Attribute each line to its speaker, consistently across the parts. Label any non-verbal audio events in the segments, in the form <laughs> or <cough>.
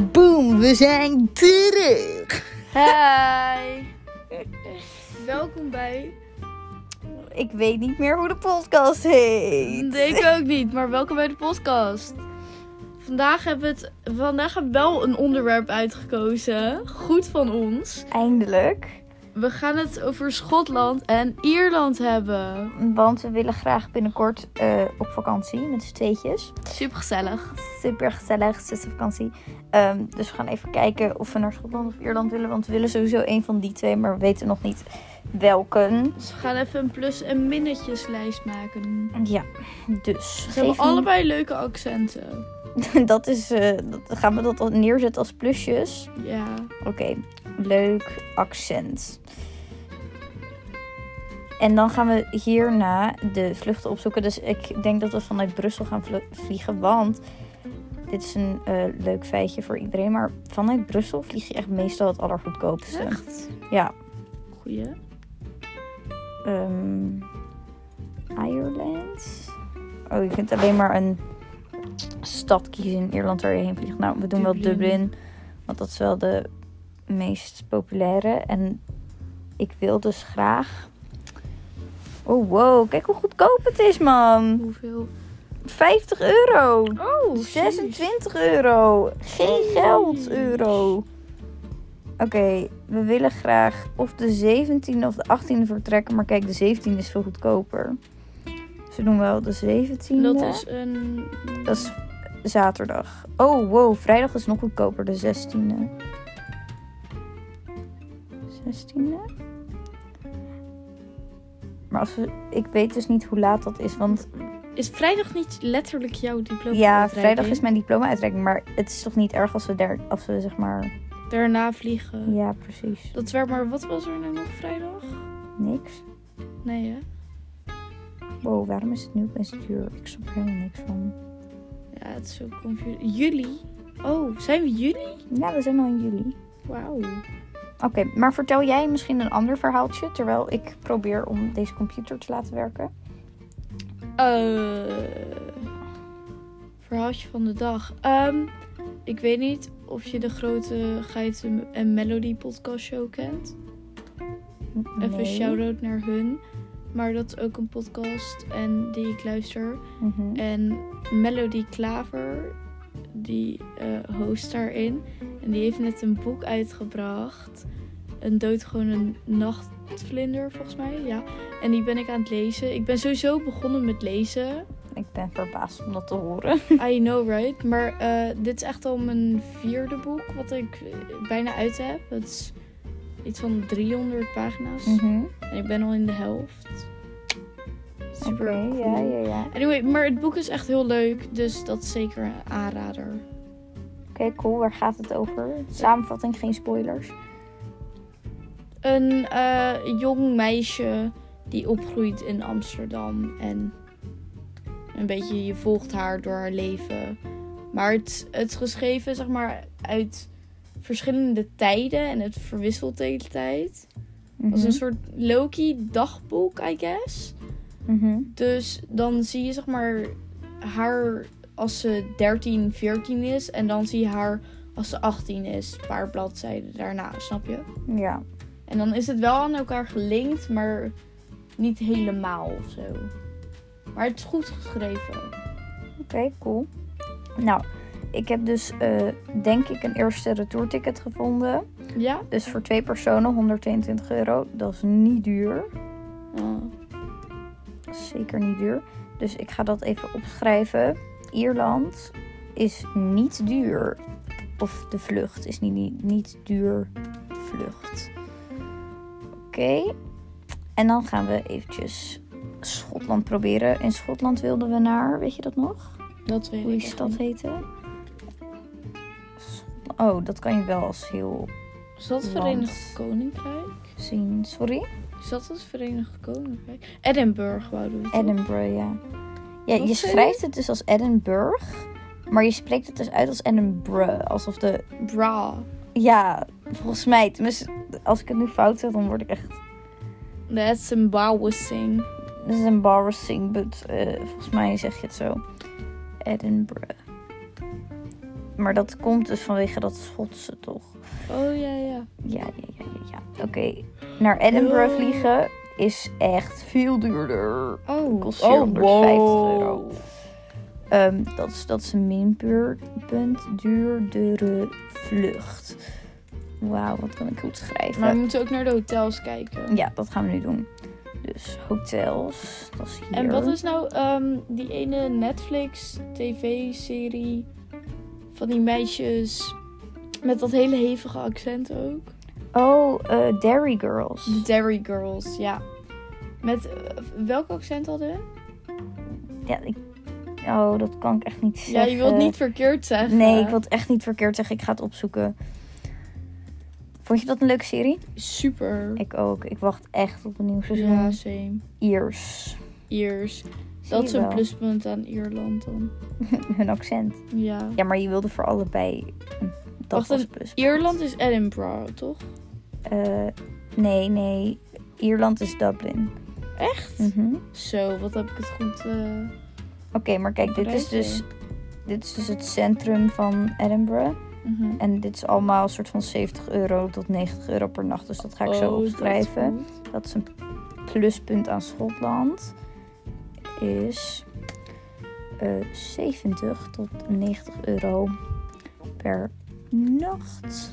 Speaker 1: We zijn terug.
Speaker 2: Hi.
Speaker 3: <laughs> Welkom bij.
Speaker 2: Ik weet niet meer hoe de podcast heet.
Speaker 3: Nee, ik ook niet, maar welkom bij de podcast. Vandaag hebben we, het, vandaag hebben we wel een onderwerp uitgekozen. Goed van ons.
Speaker 2: Eindelijk.
Speaker 3: We gaan het over Schotland en Ierland hebben.
Speaker 2: Want we willen graag binnenkort eh, op vakantie met z'n tweetjes.
Speaker 3: Super gezellig.
Speaker 2: Super gezellig, zesde vakantie. Ehm, dus we gaan even kijken of we naar Schotland of Ierland willen. Want we willen sowieso een van die twee, maar we weten nog niet welke.
Speaker 3: Dus we gaan even een plus- en minnetjeslijst maken.
Speaker 2: Ja, dus.
Speaker 3: Ze hebben
Speaker 2: geef een-
Speaker 3: allebei leuke accenten.
Speaker 2: <laughs> Dat is, eh, dat, gaan we dat al neerzetten als plusjes?
Speaker 3: Ja.
Speaker 2: Oké, leuk accent. En dan gaan we hierna de vluchten opzoeken. Dus ik denk dat we vanuit Brussel gaan vlu- vliegen. Want dit is een eh, leuk feitje voor iedereen. Maar vanuit Brussel vlieg je echt meestal het allergoedkoopste.
Speaker 3: Echt?
Speaker 2: Ja.
Speaker 3: Goeie.
Speaker 2: Ehm Ireland? Oh, je kunt alleen maar een stad kiezen in Ierland waar je heen vliegt. Nou, we doen wel
Speaker 3: Dublin.
Speaker 2: Dublin. Want dat is wel de meest populaire. En ik wil dus graag... Oh, wow. Kijk hoe goedkoop het is, man.
Speaker 3: Hoeveel?
Speaker 2: 50 euro.
Speaker 3: Hm. Oh,
Speaker 2: 26 euro. Geen geld
Speaker 3: Jeez.
Speaker 2: euro. Oké, we willen graag of de 17e of de 18e vertrekken. Maar kijk, de 17e is veel goedkoper. Dus we doen wel de 17e.
Speaker 3: Dat is een.
Speaker 2: Dat is zaterdag. Oh, wow. Vrijdag is nog goedkoper. De 16e. 16e? Maar als we, ik weet dus niet hoe laat dat is. Want
Speaker 3: Is vrijdag niet letterlijk jouw diploma?
Speaker 2: Ja, vrijdag is mijn diploma-uitreiking, maar het is toch niet erg als we daar, als we zeg maar.
Speaker 3: Daarna vliegen.
Speaker 2: Ja, precies.
Speaker 3: Dat werd maar, wat was er nou nog vrijdag?
Speaker 2: Niks.
Speaker 3: Nee, hè?
Speaker 2: Wow, waarom is het nu opeens duur? Ik snap er helemaal niks van.
Speaker 3: Ja, het is zo confusing. Juli? Oh, zijn we juli?
Speaker 2: Ja, we zijn al in juli.
Speaker 3: Wauw.
Speaker 2: Oké, maar vertel jij misschien een ander verhaaltje terwijl ik probeer om deze computer te laten werken?
Speaker 3: Eh, verhaaltje van de dag. Ehm, ik weet niet of je de grote Geit en Melody podcast show kent. Even
Speaker 2: Nee.
Speaker 3: een shout-out naar hun. Maar dat is ook een podcast en die ik luister.
Speaker 2: Mhm.
Speaker 3: En Melody Klaver, die eh, host daarin. En die heeft net een boek uitgebracht. Een doodgewone nachtvlinder, volgens mij. Ja. En die ben ik aan het lezen. Ik ben sowieso begonnen met
Speaker 2: <laughs>
Speaker 3: lezen.
Speaker 2: Ik ben verbaasd om dat te horen.
Speaker 3: I know, right? Maar eh, dit is echt al mijn vierde boek, wat ik eh, bijna uit heb. Het is iets van 300 pagina's.
Speaker 2: <laughs> Mhm.
Speaker 3: En ik ben al in de helft.
Speaker 2: Oké,
Speaker 3: Super cool.
Speaker 2: ja, ja, ja. Oké,
Speaker 3: Anyway, maar het boek is echt heel leuk, dus dat is zeker een aanrader.
Speaker 2: cool. Waar gaat het over? Samenvatting, geen spoilers.
Speaker 3: Een eh, jong meisje die opgroeit in Amsterdam en een beetje je volgt haar door haar leven. Maar het, het is geschreven zeg maar uit verschillende tijden en het verwisselt de hele tijd.
Speaker 2: Mhm.
Speaker 3: Als een soort Loki dagboek, I guess.
Speaker 2: Mhm.
Speaker 3: Dus dan zie je zeg maar haar als ze 13, 14 is. En dan zie je haar als ze 18 is. Een paar bladzijden daarna, snap je?
Speaker 2: Ja.
Speaker 3: En dan is het wel aan elkaar gelinkt, maar niet helemaal of zo. Maar het is goed geschreven.
Speaker 2: Oké, cool. Nou, ik heb dus eh, denk ik een eerste retourticket gevonden.
Speaker 3: Ja?
Speaker 2: Dus voor twee personen 122 euro. Dat is niet duur.
Speaker 3: Ah,
Speaker 2: Dat is zeker niet duur. Dus ik ga dat even opschrijven. Ierland is niet duur. Of de vlucht is niet, niet, niet duur vlucht. Oké. En dan gaan we eventjes Schotland proberen. In Schotland wilden we naar, weet je dat nog?
Speaker 3: dat weet
Speaker 2: Hoe
Speaker 3: ik
Speaker 2: die
Speaker 3: echt
Speaker 2: stad
Speaker 3: niet.
Speaker 2: heette? S- Oh, dat kan je wel als heel
Speaker 3: Is dat het
Speaker 2: Want-
Speaker 3: Verenigd Koninkrijk?
Speaker 2: zien. Sorry?
Speaker 3: Is dat het Verenigd Koninkrijk? Edinburgh wouden we toch?
Speaker 2: Edinburgh, ja. Ja, je
Speaker 3: Wat zei je?
Speaker 2: schrijft het dus als Edinburgh, maar je spreekt het dus uit als Edinburgh. Alsof de...
Speaker 3: Bra.
Speaker 2: Ja, volgens mij. Tenminste, als ik het nu fout zeg, dan word ik echt...
Speaker 3: That's embarrassing.
Speaker 2: Dat is embarrassing, but eh, volgens mij zeg je het zo. Edinburgh. Maar dat komt dus vanwege dat Schotse, toch?
Speaker 3: Oh ja, ja.
Speaker 2: Ja, ja, ja, ja. ja. Oké, naar Edinburgh
Speaker 3: Oh.
Speaker 2: vliegen is echt veel duurder.
Speaker 3: Oh,
Speaker 2: Kost
Speaker 3: oh
Speaker 2: 450 euro. Ehm, dat, is, dat is een minpunt duurdere vlucht. Wauw, wat kan ik goed schrijven?
Speaker 3: Maar we moeten ook naar de hotels kijken.
Speaker 2: Ja, dat gaan we nu doen. Dus hotels, dat is hier.
Speaker 3: En wat is nou ehm, die ene Netflix tv-serie van die meisjes met dat hele hevige accent ook?
Speaker 2: Oh, eh, Dairy Girls.
Speaker 3: Dairy Girls, ja. Met eh, welk accent hadden we?
Speaker 2: Ja, ik... Oh, dat kan ik echt niet
Speaker 3: Ja,
Speaker 2: zeggen.
Speaker 3: je wilt niet verkeerd zeggen.
Speaker 2: eh, Nee, ik wil het echt niet verkeerd zeggen. Ik ga het opzoeken. Vond je dat een leuke serie?
Speaker 3: Super.
Speaker 2: Ik ook. Ik wacht echt op een nieuw seizoen.
Speaker 3: Ja, same.
Speaker 2: Ears.
Speaker 3: Iers.
Speaker 2: Zie
Speaker 3: Dat
Speaker 2: je
Speaker 3: is een
Speaker 2: wel.
Speaker 3: pluspunt aan Ierland dan.
Speaker 2: <laughs> Hun accent.
Speaker 3: Ja.
Speaker 2: Ja, maar je wilde voor allebei. Hm, Dat
Speaker 3: Wacht,
Speaker 2: was
Speaker 3: een
Speaker 2: plus.
Speaker 3: Ierland is Edinburgh, toch?
Speaker 2: Eh, nee, nee. Ierland is Dublin.
Speaker 3: Echt?
Speaker 2: Mhm.
Speaker 3: Zo, wat heb ik het goed. eh,
Speaker 2: Oké, maar kijk, dit is, dus, dit is dus het centrum van Edinburgh.
Speaker 3: mhm.
Speaker 2: En dit is allemaal een soort van 70 euro tot 90 euro per nacht. Dus dat ga ik
Speaker 3: Oh,
Speaker 2: zo
Speaker 3: dat is
Speaker 2: opschrijven.
Speaker 3: goed.
Speaker 2: Dat is een pluspunt aan Schotland. Is eh, 70 tot 90 euro per nacht.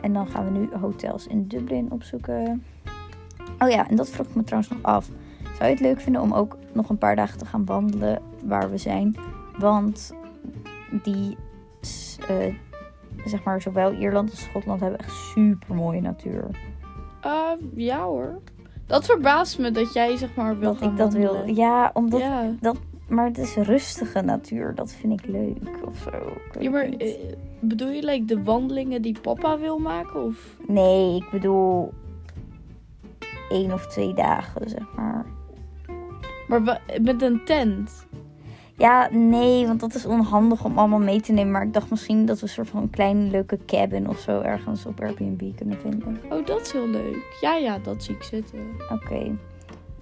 Speaker 2: En dan gaan we nu hotels in Dublin opzoeken. Oh ja, en dat vroeg ik me trouwens nog af. Zou je het leuk vinden om ook nog een paar dagen te gaan wandelen waar we zijn? Want die, s- eh, zeg maar, zowel Ierland als Schotland hebben echt super mooie natuur.
Speaker 3: Eh, ja hoor. Dat verbaast me dat jij zeg maar wil
Speaker 2: Dat
Speaker 3: gaan
Speaker 2: ik dat wil.
Speaker 3: wandelen.
Speaker 2: Ja, omdat.
Speaker 3: Ja.
Speaker 2: Maar het is rustige natuur. Dat vind ik leuk of zo. Ik weet
Speaker 3: Ja, maar
Speaker 2: niet.
Speaker 3: eh, bedoel je like, de wandelingen die papa wil maken? Of...
Speaker 2: Nee, ik bedoel. één of twee dagen, zeg maar.
Speaker 3: Maar wa- met een tent?
Speaker 2: Ja, nee, want dat is onhandig om allemaal mee te nemen. Maar ik dacht misschien dat we een soort van een kleine leuke cabin of zo ergens op Airbnb kunnen vinden.
Speaker 3: Oh, dat is heel leuk. Ja, ja, dat zie ik zitten.
Speaker 2: Oké.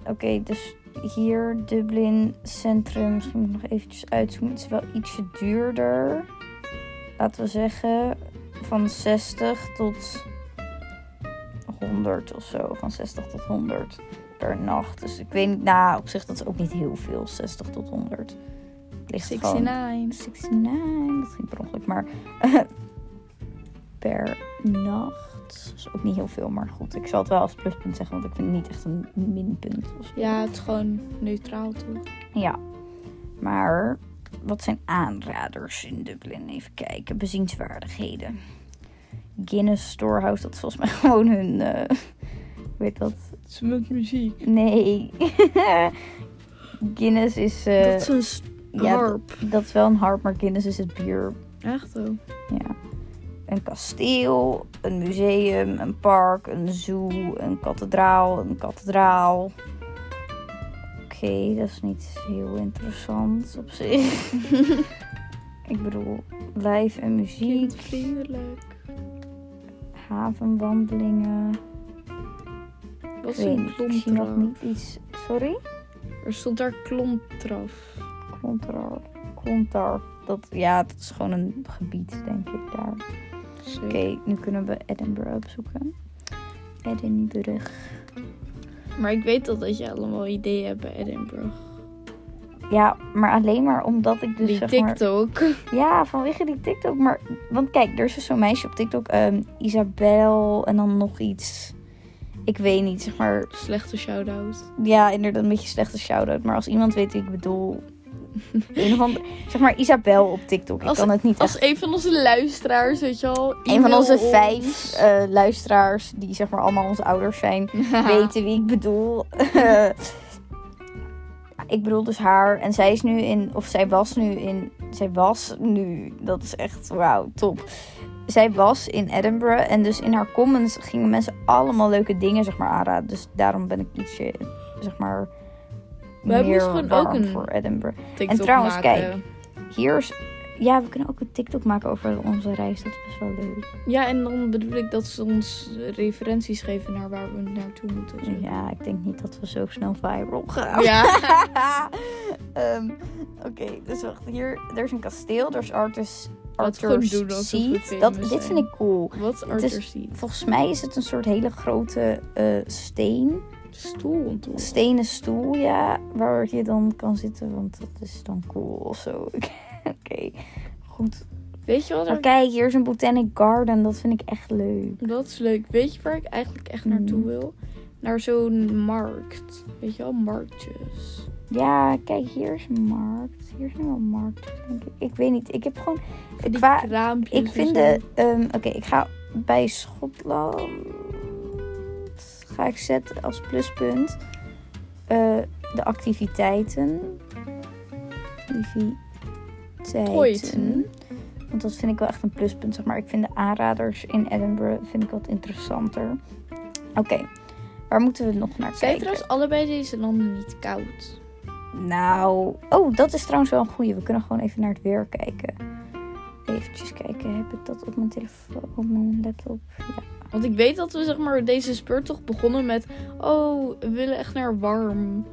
Speaker 2: Oké, dus hier Dublin Centrum. Misschien moet ik nog eventjes uitzoomen. Het is wel ietsje duurder. Laten we zeggen van 60 tot 100 of zo. Van 60 tot 100 per nacht. Dus ik weet niet, nou op zich dat is ook niet heel veel. 60 tot 100. Het
Speaker 3: Dus
Speaker 2: ligt gewoon-
Speaker 3: 69.
Speaker 2: 69, dat ging per ongeluk, maar eh, per nacht. Dat is ook niet heel veel, maar goed. Ik zal het wel als pluspunt zeggen, want ik vind het niet echt een minpunt. Of zo.
Speaker 3: Ja, het is gewoon neutraal toch?
Speaker 2: Ja. Maar wat zijn aanraders in Dublin? Even kijken. Bezienswaardigheden. Guinness Storehouse, dat is volgens mij <laughs> gewoon hun... eh, hoe heet dat?
Speaker 3: Het is met muziek.
Speaker 2: Nee. <laughs> Guinness is... eh,
Speaker 3: dat is een s-
Speaker 2: ja,
Speaker 3: harp.
Speaker 2: dat- dat is wel een harp, maar Guinness is het bier
Speaker 3: Echt oh.
Speaker 2: Ja. Een kasteel, een museum, een park, een zoo, een kathedraal, een kathedraal. Oké, dat is niet heel interessant op zich. <laughs> Ik bedoel, lijf en muziek,
Speaker 3: Kindvriendelijk.
Speaker 2: havenwandelingen.
Speaker 3: Wat
Speaker 2: Ik
Speaker 3: is
Speaker 2: weet
Speaker 3: een
Speaker 2: niet, ik zie nog
Speaker 3: klomtraf?
Speaker 2: niet iets. Sorry?
Speaker 3: Er stond daar klomtraf.
Speaker 2: Klontar. Klontar. Dat, ja, dat is gewoon een gebied, denk ik, daar.
Speaker 3: Zo.
Speaker 2: Oké, nu kunnen we Edinburgh opzoeken. Edinburgh.
Speaker 3: Maar ik weet al dat je allemaal ideeën hebt bij Edinburgh.
Speaker 2: Ja, maar alleen maar omdat ik dus
Speaker 3: Die
Speaker 2: zeg
Speaker 3: TikTok. <laughs>
Speaker 2: maar... Ja, vanwege die TikTok. Maar, want kijk, er is dus zo'n meisje op TikTok. ehm, Isabel en dan nog iets. Ik weet niet, zeg maar.
Speaker 3: Slechte shout-out.
Speaker 2: Ja, inderdaad, een beetje slechte shout-out. Maar als iemand weet wie ik bedoel... <laughs> Een van, zeg maar Isabel op TikTok. Ik
Speaker 3: Als-
Speaker 2: kan het niet
Speaker 3: Als
Speaker 2: echt-
Speaker 3: een van onze luisteraars, weet je al.
Speaker 2: Een van onze
Speaker 3: <laughs>
Speaker 2: vijf eh, luisteraars, die zeg maar allemaal onze ouders zijn, weten wie ik bedoel. <laughs> ik bedoel dus haar. En zij is nu in, of zij was nu in, zij was nu, dat is echt wauw, top. Zij was in Edinburgh en dus in haar comments gingen mensen allemaal leuke dingen zeg maar aanraden. Dus daarom ben ik ietsje, zeg maar,
Speaker 3: Wij
Speaker 2: meer
Speaker 3: moesten dus gewoon ook
Speaker 2: warm
Speaker 3: een-
Speaker 2: voor Edinburgh.
Speaker 3: <laughs> TikTok
Speaker 2: En trouwens,
Speaker 3: maken.
Speaker 2: kijk. Hier is, ja, we kunnen ook een TikTok maken over onze reis. Dat is best wel leuk.
Speaker 3: Ja, en dan bedoel ik dat ze ons referenties geven naar waar we naartoe moeten. en zo.
Speaker 2: Ja, ik denk niet dat we zo snel viral gaan. <laughs>
Speaker 3: Ja. <laughs>
Speaker 2: Ehm, Oké, dus wacht. Hier, er is een kasteel. Er is Artis,
Speaker 3: Laten we
Speaker 2: Arthur's
Speaker 3: gewoon doen alsof we
Speaker 2: Seat.
Speaker 3: famous
Speaker 2: Dat,
Speaker 3: zijn.
Speaker 2: dit vind ik cool.
Speaker 3: Wat
Speaker 2: Het is-
Speaker 3: Arthur ziet.
Speaker 2: Volgens mij is het een soort hele grote eh, steen.
Speaker 3: Stoel ontdoen.
Speaker 2: stenen stoel, ja, waar je dan kan zitten, want dat is dan cool of zo. <laughs> Oké, goed.
Speaker 3: Weet je wat
Speaker 2: Maar
Speaker 3: er...
Speaker 2: kijk, hier is een Botanic Garden, dat vind ik echt leuk.
Speaker 3: Dat is leuk. Weet je waar ik eigenlijk echt
Speaker 2: Mm.
Speaker 3: naartoe wil? Naar zo'n markt. Weet je wel, marktjes.
Speaker 2: Ja, kijk, hier is een markt. Hier is nu een markt, denk ik. Ik weet niet, ik heb gewoon...
Speaker 3: Die
Speaker 2: qua-
Speaker 3: kraampjes.
Speaker 2: ik
Speaker 3: en
Speaker 2: vind
Speaker 3: zo.
Speaker 2: de... ehm, Oké, ik ga bij Schotland... Ga ik zetten als pluspunt eh, de activiteiten. Activiteiten.
Speaker 3: Ooit.
Speaker 2: Want dat vind ik wel echt een pluspunt, zeg maar. Ik vind de aanraders in Edinburgh vind ik wat interessanter. Oké, waar moeten we nog naar
Speaker 3: Zijn
Speaker 2: kijken?
Speaker 3: trouwens allebei deze landen niet koud?
Speaker 2: Nou, oh, dat is trouwens wel een goeie. We kunnen gewoon even naar het weer kijken. Eventjes kijken, heb ik dat op mijn telefoon, op mijn laptop? Ja.
Speaker 3: Want ik weet dat we zeg maar deze speurtocht begonnen met... Oh, we willen echt naar warm,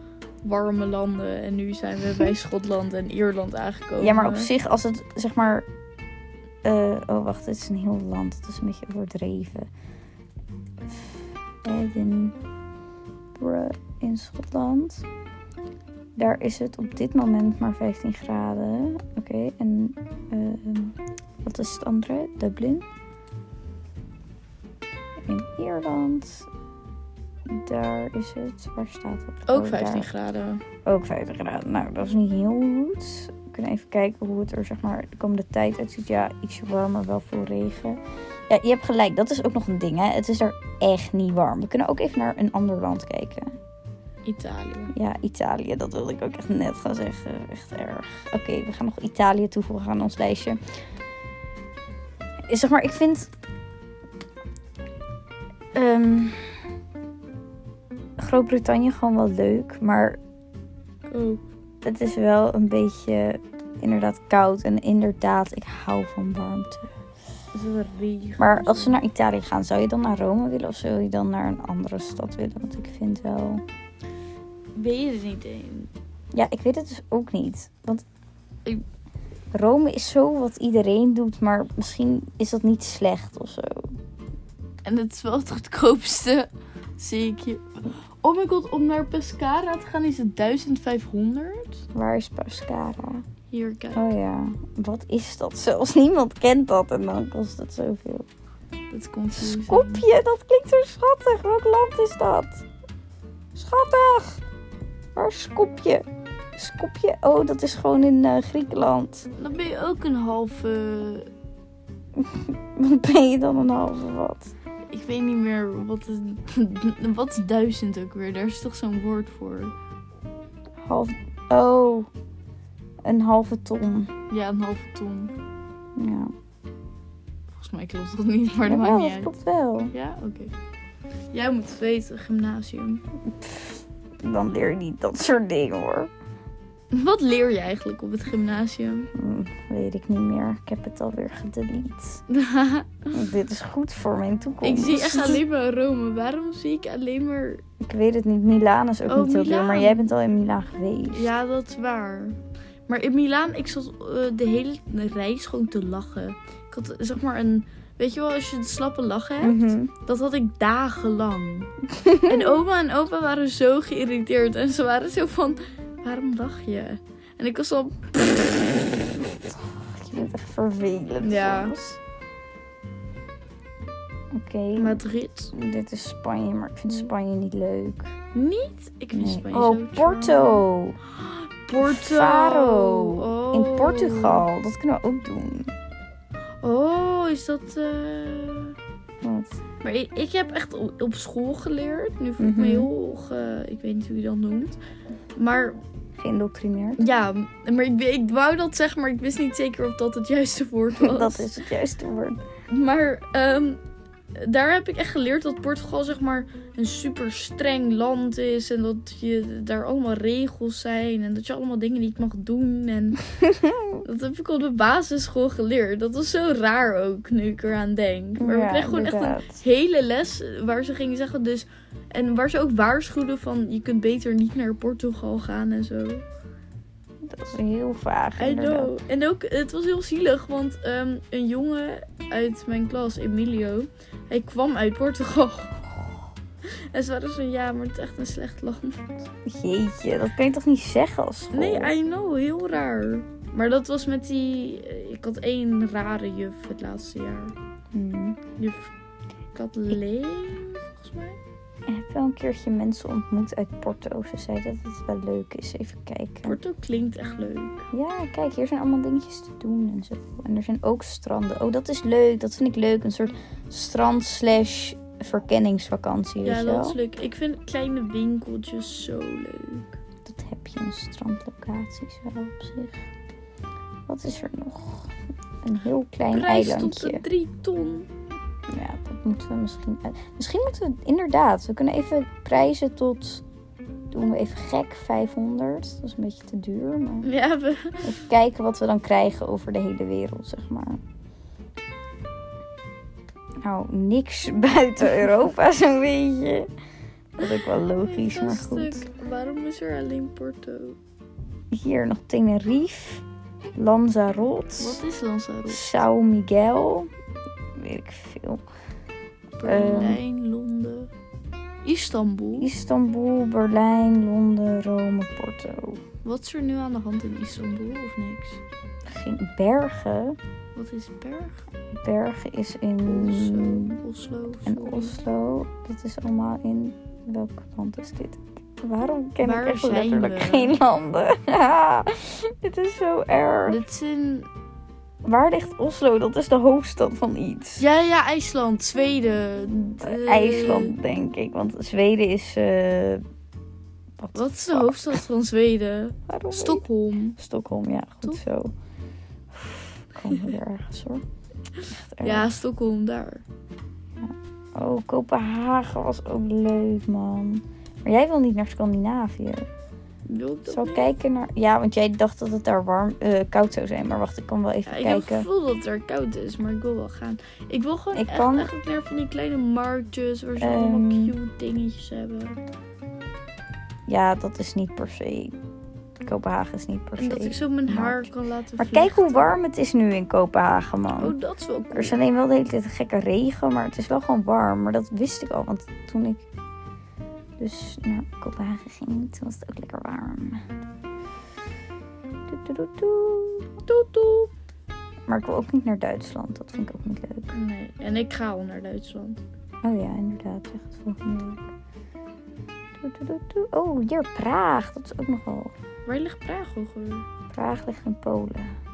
Speaker 3: warme landen. En nu zijn we
Speaker 2: <laughs>
Speaker 3: bij Schotland en Ierland aangekomen.
Speaker 2: ja, maar op zich, als het zeg maar... eh, oh, wacht, het is een heel land. Het is een beetje overdreven. Edinburgh in Schotland. Daar is het op dit moment maar 15 graden. Oké, en ehm, wat is het andere? Dublin. In Ierland. Daar is het. Waar staat het?
Speaker 3: Ook
Speaker 2: Oh,
Speaker 3: 15
Speaker 2: daar.
Speaker 3: graden.
Speaker 2: Ook 50 graden. Nou, dat is niet heel goed. We kunnen even kijken hoe het er zeg maar, de komende tijd uitziet. Ja, ietsje warm, maar wel veel regen. Ja, je hebt gelijk. Dat is ook nog een ding, hè. Het is daar echt niet warm. We kunnen ook even naar een ander land kijken.
Speaker 3: Italië.
Speaker 2: Ja, Italië. Dat wilde ik ook echt net gaan zeggen. Echt erg. Oké, we gaan nog Italië toevoegen aan ons lijstje. Zeg maar, ik vind... ehm, Groot-Brittannië gewoon wel leuk, maar
Speaker 3: Ook.
Speaker 2: het is wel een beetje inderdaad koud. En inderdaad, ik hou van warmte.
Speaker 3: Is het regen?
Speaker 2: Maar als we naar Italië gaan, zou je dan naar Rome willen? Of zou je dan naar een andere stad willen? Want ik vind wel...
Speaker 3: Weet het niet eens.
Speaker 2: Ja, ik weet het dus ook niet. Want
Speaker 3: Ik-
Speaker 2: Rome is zo wat iedereen doet. Maar misschien is dat niet slecht of zo.
Speaker 3: En het is wel het goedkoopste, zie ik je. Oh mijn god, om naar Pescara te gaan is het 1500.
Speaker 2: Waar is Pescara?
Speaker 3: Hier, kijk.
Speaker 2: Oh ja, wat is dat? <laughs> Zelfs niemand kent dat. En dan kost het zoveel.
Speaker 3: Dat komt hier.
Speaker 2: Skopje, dat klinkt zo schattig. Welk land is dat? Schattig! Waar is Skopje? Skopje, oh, dat is gewoon in eh, Griekenland. <laughs>
Speaker 3: Dan ben je ook een halve...
Speaker 2: Wat ben je dan een halve wat?
Speaker 3: Ik weet niet meer wat het... <laughs> wat is duizend ook weer? Daar is toch zo'n woord voor?
Speaker 2: Half, oh, een halve ton.
Speaker 3: Ja, een halve ton.
Speaker 2: Ja,
Speaker 3: Volgens mij klopt dat niet, maar dat
Speaker 2: Jawel,
Speaker 3: maakt niet
Speaker 2: dat
Speaker 3: uit.
Speaker 2: klopt wel.
Speaker 3: Ja? Oké. Jij moet het weten, gymnasium.
Speaker 2: Pff, dan leer je niet dat soort dingen hoor.
Speaker 3: Wat leer je eigenlijk op het gymnasium? <laughs>
Speaker 2: Hm, weet ik niet meer. Ik heb het alweer gedelete. Dit is goed voor mijn toekomst.
Speaker 3: ik zie echt alleen maar Rome. Waarom zie ik alleen maar...
Speaker 2: Ik weet het niet. Milaan is ook
Speaker 3: Oh,
Speaker 2: niet heel duur,
Speaker 3: Milaan.
Speaker 2: maar jij bent al in Milaan geweest.
Speaker 3: Ja, dat is waar. Maar in Milaan, ik zat eh, de hele reis gewoon te lachen. Ik had zeg maar een... Weet je wel, als je de slappe lach hebt,
Speaker 2: Mhm.
Speaker 3: dat had ik
Speaker 2: <laughs>
Speaker 3: dagenlang. en oma en opa waren zo geïrriteerd. En ze waren zo van, waarom lach je? En ik was al...
Speaker 2: Je bent echt vervelend.
Speaker 3: Ja.
Speaker 2: soms. Oké.
Speaker 3: Madrid?
Speaker 2: Dit is Spanje, maar ik vind Spanje niet leuk.
Speaker 3: Niet? Mm. Ik vind Spanje zo
Speaker 2: Oh,
Speaker 3: charmant.
Speaker 2: Porto.
Speaker 3: Porto.
Speaker 2: Faro.
Speaker 3: Oh.
Speaker 2: In Portugal. Dat kunnen we ook doen.
Speaker 3: Oh, is dat... eh,
Speaker 2: Wat?
Speaker 3: Maar ik, ik heb echt o- op school geleerd. Nu voel ik
Speaker 2: Mhm.
Speaker 3: me heel... ge- ik weet niet hoe je dat noemt. Maar
Speaker 2: Geïndoctrineerd.
Speaker 3: ja, maar ik, ik wou dat zeggen, maar ik wist niet zeker of dat het juiste
Speaker 2: <laughs>
Speaker 3: woord was.
Speaker 2: Dat is het juiste woord.
Speaker 3: Maar ehm, daar heb ik echt geleerd dat Portugal zeg maar een super streng land is. En dat je daar allemaal regels zijn. En dat je allemaal dingen niet mag doen.
Speaker 2: <laughs>
Speaker 3: En dat heb ik op de basisschool geleerd. Dat was zo raar ook, nu ik eraan denk. Maar we
Speaker 2: ja,
Speaker 3: kregen gewoon echt een
Speaker 2: inderdaad.
Speaker 3: hele les waar ze gingen zeggen dus... En waar ze ook waarschuwden van je kunt beter niet naar Portugal gaan en zo.
Speaker 2: Dat is heel vaag.
Speaker 3: I
Speaker 2: inderdaad.
Speaker 3: know. En ook, het was heel zielig, want ehm, een jongen uit mijn klas, Emilio, hij kwam uit Portugal. <laughs> En ze waren zo, ja, maar het is echt een slecht land.
Speaker 2: Jeetje, dat kan je toch niet zeggen als school?
Speaker 3: Nee, I know, heel raar. Maar dat was met die, eh, ik had één rare juf het laatste jaar.
Speaker 2: Hmm.
Speaker 3: Juf Kathleen, volgens mij.
Speaker 2: Ik heb wel een keertje mensen ontmoet uit Porto. Ze zeiden dat het wel leuk is. Even kijken.
Speaker 3: Porto klinkt echt leuk.
Speaker 2: Ja, kijk, hier zijn allemaal dingetjes te doen en zo. En er zijn ook stranden. Oh, dat is leuk. Dat vind ik leuk. Een soort strand slash verkenningsvakantie. weet
Speaker 3: Ja,
Speaker 2: je wel?
Speaker 3: dat is leuk. Ik vind kleine winkeltjes zo leuk.
Speaker 2: Dat heb je een strandlocatie zo op zich. Wat is er nog? Een heel klein
Speaker 3: Prijs tot
Speaker 2: eilandje.
Speaker 3: de drie ton.
Speaker 2: Ja, dat moeten we misschien... uit- Misschien moeten we... Inderdaad, we kunnen even prijzen tot... Doen we even gek, 500. Dat is een beetje te duur, maar...
Speaker 3: Ja, we,
Speaker 2: Even kijken wat we dan krijgen over de hele wereld, zeg maar. Nou, niks <laughs> buiten Europa, <laughs> zo'n beetje. Dat is ook wel logisch,
Speaker 3: Hey,
Speaker 2: maar
Speaker 3: gaststuk,
Speaker 2: goed.
Speaker 3: Waarom is er alleen Porto?
Speaker 2: Hier nog Tenerife, Lanzarote,
Speaker 3: Wat is Lanzarote?
Speaker 2: São Miguel. Weet ik veel.
Speaker 3: Berlijn,
Speaker 2: eh,
Speaker 3: Londen, Istanbul.
Speaker 2: Istanbul, Berlijn, Londen, Rome, Porto.
Speaker 3: Wat is er nu aan de hand in Istanbul of niks?
Speaker 2: Geen Bergen.
Speaker 3: Wat is Berg?
Speaker 2: Bergen is
Speaker 3: Oslo.
Speaker 2: in
Speaker 3: Oslo.
Speaker 2: Ehm, En
Speaker 3: sorry.
Speaker 2: Oslo, dat is allemaal in welk land is dit? Waarom ken
Speaker 3: Waar
Speaker 2: ik echt
Speaker 3: zijn
Speaker 2: letterlijk
Speaker 3: we?
Speaker 2: geen landen? <laughs> Dit is zo erg.
Speaker 3: Dit is in...
Speaker 2: Waar ligt Oslo? Dat is de hoofdstad van iets.
Speaker 3: Ja, ja, IJsland, Zweden. de-
Speaker 2: IJsland, denk ik. Want Zweden is... eh, what the
Speaker 3: Wat is de
Speaker 2: fuck?
Speaker 3: hoofdstad van Zweden?
Speaker 2: Waarom weet-
Speaker 3: Stockholm.
Speaker 2: Stockholm, ja. Goed
Speaker 3: Toch?
Speaker 2: zo. Komen we weer ergens, hoor. Echt erg.
Speaker 3: Ja, Stockholm, daar.
Speaker 2: Oh, Kopenhagen was ook leuk, man. Maar jij wil niet naar Scandinavië.
Speaker 3: Wil ik dat
Speaker 2: Zal
Speaker 3: niet?
Speaker 2: kijken naar. Ja, want jij dacht dat het daar warm, eh, koud zou zijn. Maar wacht, ik kan wel even
Speaker 3: Ja, ik heb
Speaker 2: kijken.
Speaker 3: het gevoel dat het er koud is, maar ik wil wel gaan. Ik wil gewoon
Speaker 2: Ik
Speaker 3: echt,
Speaker 2: kan-
Speaker 3: echt naar van die kleine marktjes waar ze
Speaker 2: Ehm.
Speaker 3: allemaal cute dingetjes hebben.
Speaker 2: Ja, dat is niet per se. Kopenhagen is niet per se.
Speaker 3: En dat ik zo mijn haar kan laten
Speaker 2: Maar kijk
Speaker 3: vliegen.
Speaker 2: hoe warm het is nu in Kopenhagen, man.
Speaker 3: Oh, dat is wel cool.
Speaker 2: Er is alleen wel de hele tijd gekke regen, maar het is wel gewoon warm. Maar dat wist ik al, want toen ik dus naar Kopenhagen ging, toen was het ook lekker warm. Doe, doe, doe, doe.
Speaker 3: Doe, doe.
Speaker 2: Maar ik wil ook niet naar Duitsland, dat vind ik ook niet leuk.
Speaker 3: Nee, en ik ga al naar Duitsland.
Speaker 2: Oh ja, inderdaad. Zeg het volgende week. Doe, doe, doe, doe. Oh, hier Praag. Dat is ook nogal.
Speaker 3: Waar ligt Praag ook alweer?
Speaker 2: Praag ligt in Polen.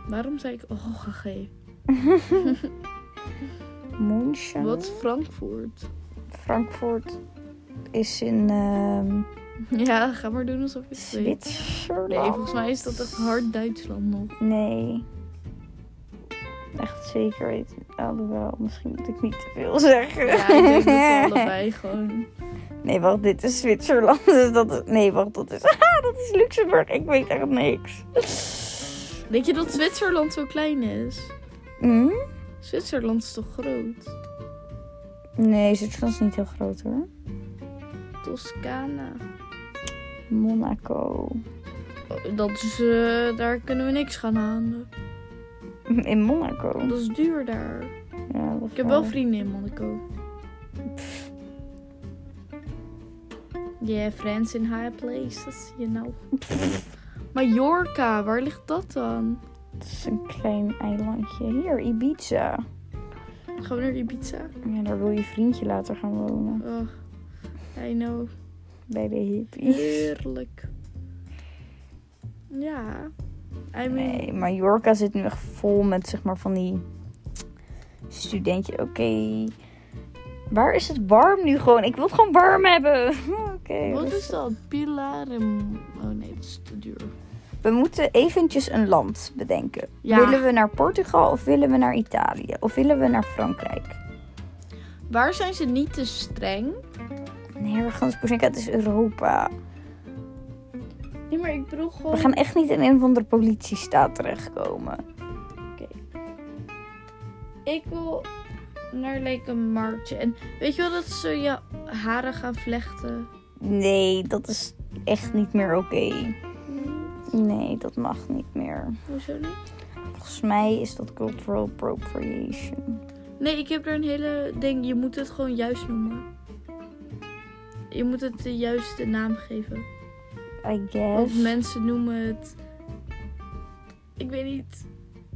Speaker 3: Waarom zei ik oh gegeven?
Speaker 2: München.
Speaker 3: Wat is Frankfurt? <laughs>
Speaker 2: Frankfurt is in ehm,
Speaker 3: Ja, ga maar doen alsof je het weet.
Speaker 2: Zwitserland.
Speaker 3: Nee, volgens mij is dat echt hard Duitsland nog.
Speaker 2: Nee. Echt zeker weten. Alhoewel, misschien moet ik niet te veel zeggen.
Speaker 3: Ja, ik denk dat
Speaker 2: <laughs>
Speaker 3: ze allebei gewoon...
Speaker 2: Nee, wacht, dit is Zwitserland. Dus dat is... Nee, wacht, dat is... <laughs> Ah, dat is Luxemburg. Ik weet echt niks.
Speaker 3: Denk je dat Zwitserland zo klein is?
Speaker 2: Hm?
Speaker 3: Zwitserland is toch groot?
Speaker 2: Nee, Zwitserland is niet heel groot hoor.
Speaker 3: Toscana.
Speaker 2: Monaco. <laughs>
Speaker 3: Oh, Dat is, eh, daar kunnen we niks gaan halen.
Speaker 2: In Monaco.
Speaker 3: Dat is duur daar.
Speaker 2: Ja, dat is
Speaker 3: Ik heb
Speaker 2: waar.
Speaker 3: wel vrienden in Monaco. Yeah, friends in high places, you know. Mallorca, waar ligt dat dan?
Speaker 2: Het is een klein eilandje. Hier, Ibiza.
Speaker 3: Gaan we naar Ibiza?
Speaker 2: Ja, daar wil je vriendje later gaan wonen.
Speaker 3: Oh, I know.
Speaker 2: Bij de hippies.
Speaker 3: Heerlijk. Ja. I mean,
Speaker 2: Nee, Mallorca zit nu echt vol met zeg maar van die studentjes. Oké. Waar is het warm nu gewoon? Ik wil het gewoon warm hebben. <laughs> Oké.
Speaker 3: wat
Speaker 2: dus
Speaker 3: is dat? Pilar en... Oh nee, dat is te duur.
Speaker 2: We moeten eventjes een land bedenken.
Speaker 3: Ja.
Speaker 2: Willen we naar Portugal of willen we naar Italië? Of willen we naar Frankrijk?
Speaker 3: Waar zijn ze niet te streng?
Speaker 2: Nergens. Boezinka, het is Europa.
Speaker 3: Nee, maar ik bedoel
Speaker 2: We
Speaker 3: gewoon...
Speaker 2: gaan echt niet in een of andere politiestaat terechtkomen.
Speaker 3: Ik wil naar like een marktje. En weet je wel dat ze je haren gaan vlechten?
Speaker 2: Nee, dat is echt niet meer oké. Nee, dat mag niet meer.
Speaker 3: Hoezo niet?
Speaker 2: Volgens mij is dat cultural appropriation.
Speaker 3: Nee, ik heb er een hele ding. Je moet het gewoon juist noemen. Je moet het de juiste naam geven.
Speaker 2: I
Speaker 3: Want
Speaker 2: guess.
Speaker 3: mensen noemen het. Ik weet niet.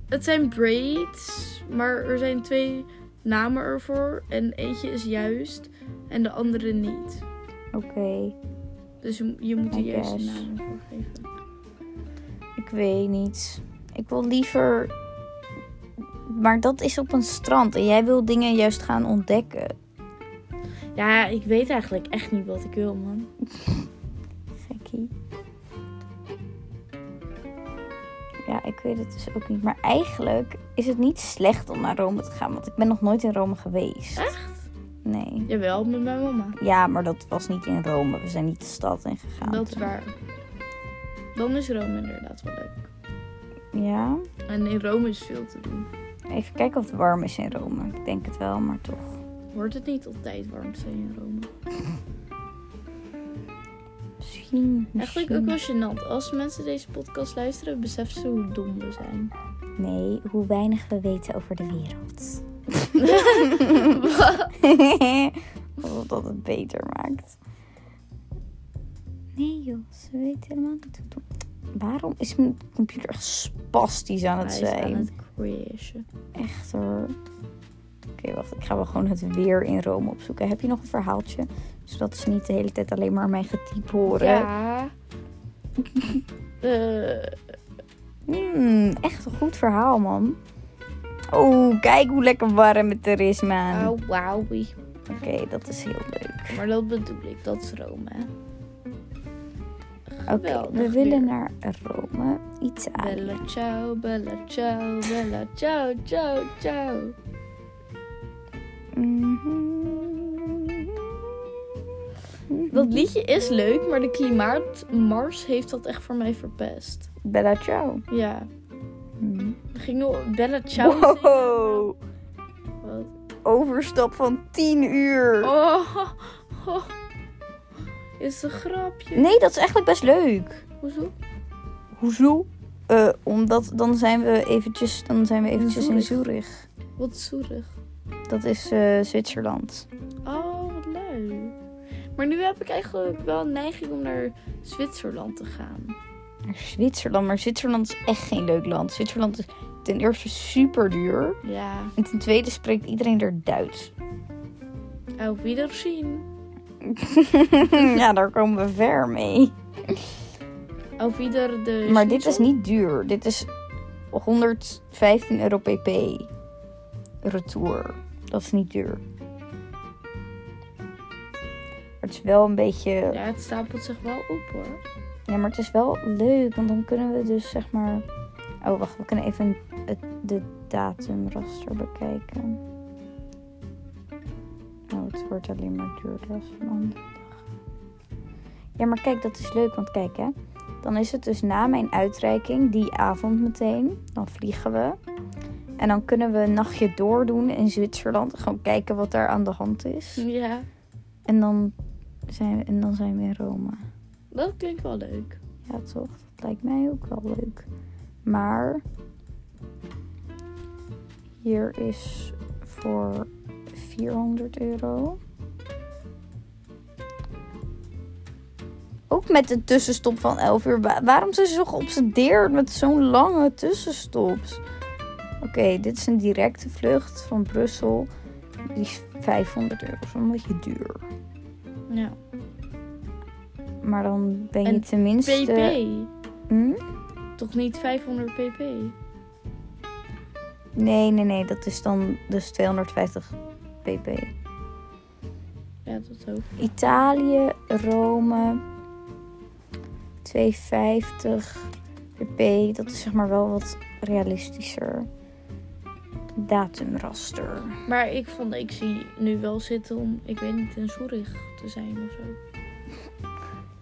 Speaker 3: Het zijn braids, maar er zijn twee namen ervoor. En eentje is juist en de andere niet.
Speaker 2: Oké,
Speaker 3: Dus je, je moet de
Speaker 2: I
Speaker 3: juiste
Speaker 2: guess.
Speaker 3: naam ervoor geven.
Speaker 2: ik weet niet. Ik wil liever. Maar dat is op een strand en jij wil dingen juist gaan ontdekken.
Speaker 3: Ja, ik weet eigenlijk echt niet wat ik wil, man.
Speaker 2: Gekkie. Ja, ik weet het dus ook niet. Maar eigenlijk is het niet slecht om naar Rome te gaan, want ik ben nog nooit in Rome geweest.
Speaker 3: Echt?
Speaker 2: Nee.
Speaker 3: Jawel, met mijn mama.
Speaker 2: Ja, maar dat was niet in Rome. We zijn niet de stad in gegaan.
Speaker 3: Dat is
Speaker 2: toen.
Speaker 3: waar. Dan is Rome inderdaad wel leuk.
Speaker 2: Ja.
Speaker 3: En in Rome is veel te doen.
Speaker 2: Even kijken of het warm is in Rome. Ik denk het wel, maar toch.
Speaker 3: Wordt het niet altijd warm te zijn in Rome?
Speaker 2: Misschien.
Speaker 3: Eigenlijk ook
Speaker 2: misschien-
Speaker 3: wel gênant. Als mensen deze podcast luisteren, beseffen ze hoe dom we zijn.
Speaker 2: Nee, hoe weinig we weten over de wereld. Alsof <laughs> dat het beter maakt. Nee joh, ze weten helemaal niet hoe doen. Waarom is mijn computer echt spastisch aan het
Speaker 3: Hij is
Speaker 2: zijn?
Speaker 3: aan het crashen.
Speaker 2: Echt hoor. Oké, wacht. Ik ga wel gewoon het weer in Rome opzoeken. Heb je nog een verhaaltje? Zodat ze niet de hele tijd alleen maar mijn getiep horen. <laughs>
Speaker 3: Ja. Eh,
Speaker 2: Hmm, echt een goed verhaal, man. Oh, kijk hoe lekker warm het er is, man.
Speaker 3: oh, wauwie.
Speaker 2: Oké, dat is heel leuk.
Speaker 3: Maar dat bedoel ik, dat is Rome. hè.
Speaker 2: Oké,
Speaker 3: Geweldig
Speaker 2: we willen
Speaker 3: weer.
Speaker 2: naar Rome. Italië.
Speaker 3: Bella ciao, bella ciao, bella ciao, ciao, ciao.
Speaker 2: Mhm.
Speaker 3: Dat liedje is leuk, maar de klimaatmars heeft dat echt voor mij verpest.
Speaker 2: Bella ciao.
Speaker 3: Ja.
Speaker 2: Hmm.
Speaker 3: We gingen Bella ciao zingen.
Speaker 2: Wow,
Speaker 3: Wat?
Speaker 2: overstap van 10 uur.
Speaker 3: Oh, oh. Is een grapje.
Speaker 2: Nee, dat is eigenlijk best leuk.
Speaker 3: Hoezo?
Speaker 2: Hoezo? Eh, omdat dan zijn we eventjes, dan zijn we eventjes in
Speaker 3: Zurich.
Speaker 2: Zurich.
Speaker 3: Wat zoerig.
Speaker 2: Dat is eh, Zwitserland.
Speaker 3: Oh, wat leuk. Maar nu heb ik eigenlijk wel een neiging om naar Zwitserland te gaan.
Speaker 2: Naar Zwitserland, maar Zwitserland is echt geen leuk land. Zwitserland is ten eerste super duur.
Speaker 3: Ja,
Speaker 2: En ten tweede spreekt iedereen er Duits.
Speaker 3: auf Wiedersehen.
Speaker 2: <laughs> ja, daar komen we ver mee.
Speaker 3: Auf Wieder de.
Speaker 2: Maar dit is niet duur. Dit is 115 euro pp. Retour. Dat is niet duur. Maar het is wel een beetje.
Speaker 3: Ja, het stapelt zich wel op hoor.
Speaker 2: Ja, maar het is wel leuk, want dan kunnen we dus zeg maar. Oh, wacht, we kunnen even het, de datumraster bekijken. Oh, het wordt alleen maar duurder als een andere dag. Ja, maar kijk, dat is leuk, want kijk hè. Dan is het dus na mijn uitreiking, die avond meteen. Dan vliegen we. En dan kunnen we een nachtje doordoen in Zwitserland. Gewoon kijken wat daar aan de hand is.
Speaker 3: Ja,
Speaker 2: En dan zijn we, en dan zijn we in Rome.
Speaker 3: dat klinkt wel leuk.
Speaker 2: Ja, toch? Dat lijkt mij ook wel leuk. Maar hier is voor 400 euro. Ook met een tussenstop van 11 uur. Wa- waarom zijn ze zo geobsedeerd met zo'n lange tussenstops? Oké, dit is een directe vlucht van Brussel. Die is 500 euro. Dat is wel een beetje duur.
Speaker 3: Ja.
Speaker 2: Maar dan ben je
Speaker 3: En
Speaker 2: tenminste...
Speaker 3: PP.
Speaker 2: Hm?
Speaker 3: Toch niet 500 pp?
Speaker 2: Nee, nee, nee. Dat is dan dus 250 pp.
Speaker 3: Ja, dat ook.
Speaker 2: Italië, Rome. 250 pp. Dat is zeg maar wel wat realistischer. Datumraster.
Speaker 3: Maar ik vond, ik zie nu wel zitten om, ik weet niet, in Zurich te zijn of zo.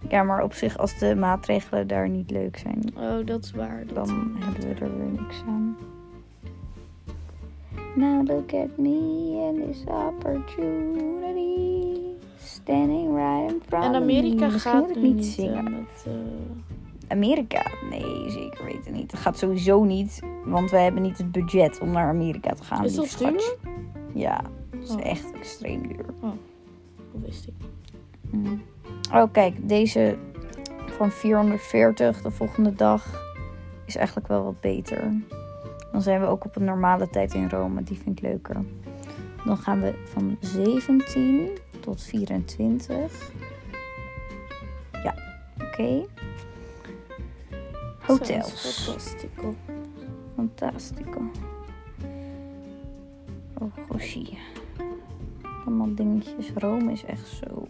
Speaker 2: Ja, maar op zich als de maatregelen daar niet leuk zijn,
Speaker 3: Oh, dat is waar. Dat...
Speaker 2: dan hebben we er weer niks aan. Now look at me and this opportunity. Standing right in front of me.
Speaker 3: En Amerika
Speaker 2: Misschien
Speaker 3: gaat
Speaker 2: moet ik
Speaker 3: nu
Speaker 2: niet
Speaker 3: niet eh,
Speaker 2: zingen.
Speaker 3: met eh,
Speaker 2: Amerika? Nee, zeker weten niet. Dat gaat sowieso niet, want wij hebben niet het budget om naar Amerika te gaan.
Speaker 3: Is
Speaker 2: lief
Speaker 3: dat duur?
Speaker 2: schatje. Ja, dat is
Speaker 3: Oh.
Speaker 2: echt extreem duur.
Speaker 3: Dat wist ik.
Speaker 2: Mm. Oh, kijk, deze van 440 de volgende dag is eigenlijk wel wat beter. Dan zijn we ook op een normale tijd in Rome, die vind ik leuker. Dan gaan we van 17 tot 24. Ja, oké. Hotels.
Speaker 3: Fantastico.
Speaker 2: Fantastico. Oh, goshie. Allemaal dingetjes. Rome is echt zo...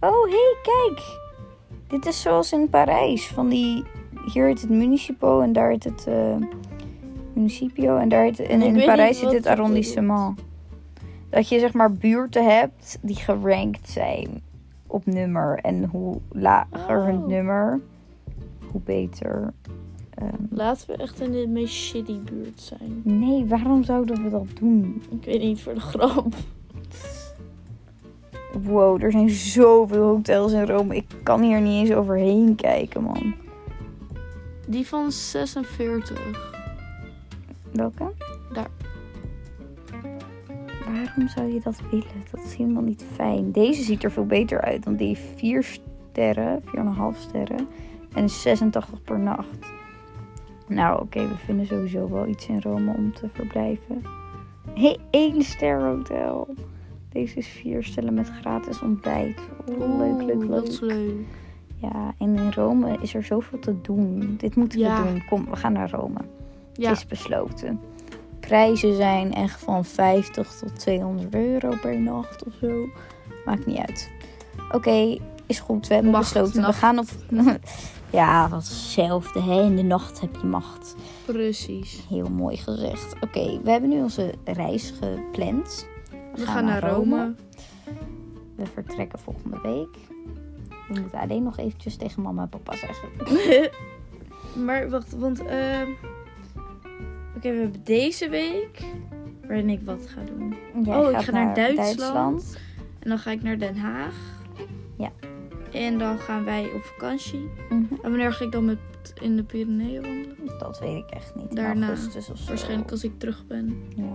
Speaker 2: Oh, hé, hey, kijk! Dit is zoals in Parijs. Van die... Hier heet het municipo en daar heet het... eh, municipio en daar heet En
Speaker 3: Ik weet
Speaker 2: in
Speaker 3: niet
Speaker 2: Parijs zit
Speaker 3: wat
Speaker 2: het
Speaker 3: dat
Speaker 2: arrondissement. Dat je zeg maar buurten hebt die gerankt zijn op nummer. En hoe lager
Speaker 3: Oh.
Speaker 2: hun nummer, hoe beter. Ehm,
Speaker 3: Laten we echt in de meest shitty buurt zijn.
Speaker 2: Nee, waarom zouden we dat doen?
Speaker 3: Ik weet niet, voor de grap.
Speaker 2: Wow, er zijn zoveel hotels in Rome. Ik kan hier niet eens overheen kijken, man.
Speaker 3: Die van 46.
Speaker 2: Welke?
Speaker 3: Daar.
Speaker 2: Waarom zou je dat willen? Dat is helemaal niet fijn. Deze ziet er veel beter uit dan die 4 sterren, 4,5 sterren. En 86 per nacht. Nou, oké, we vinden sowieso wel iets in Rome om te verblijven. Hé, hey, 1 ster hotel. Deze is 4 sterren met gratis ontbijt. Oeh, leuk, leuk,
Speaker 3: Oeh,
Speaker 2: leuk.
Speaker 3: Dat is leuk.
Speaker 2: Ja, en in Rome is er zoveel te doen. Dit moeten
Speaker 3: Ja.
Speaker 2: we doen. Kom, we gaan naar Rome.
Speaker 3: Ja,
Speaker 2: Het is besloten. Prijzen zijn echt van 50 tot 200 euro per nacht of zo. Maakt niet uit. Oké, is goed. We hebben
Speaker 3: Macht,
Speaker 2: besloten.
Speaker 3: nacht.
Speaker 2: We gaan op... <laughs> ja, dat is hetzelfde. Hè? In de nacht heb je macht.
Speaker 3: precies.
Speaker 2: Heel mooi gezegd. Oké, we hebben nu onze reis gepland.
Speaker 3: We gaan naar Rome.
Speaker 2: We vertrekken volgende week. We moeten alleen nog eventjes tegen mama en papa zeggen.
Speaker 3: maar wacht, want... ehm, Oké, we hebben deze week... Waarin ik wat ga doen.
Speaker 2: Jij
Speaker 3: oh, ik
Speaker 2: gaat
Speaker 3: ga naar, Duitsland. En dan ga ik naar Den Haag.
Speaker 2: Ja.
Speaker 3: En dan gaan wij op vakantie.
Speaker 2: Mhm.
Speaker 3: En wanneer ga ik dan met in de Pyreneeën wandelen?
Speaker 2: Dat weet ik echt niet. In
Speaker 3: Daarna.
Speaker 2: augustus of zo.
Speaker 3: Waarschijnlijk als ik terug ben
Speaker 2: Ja.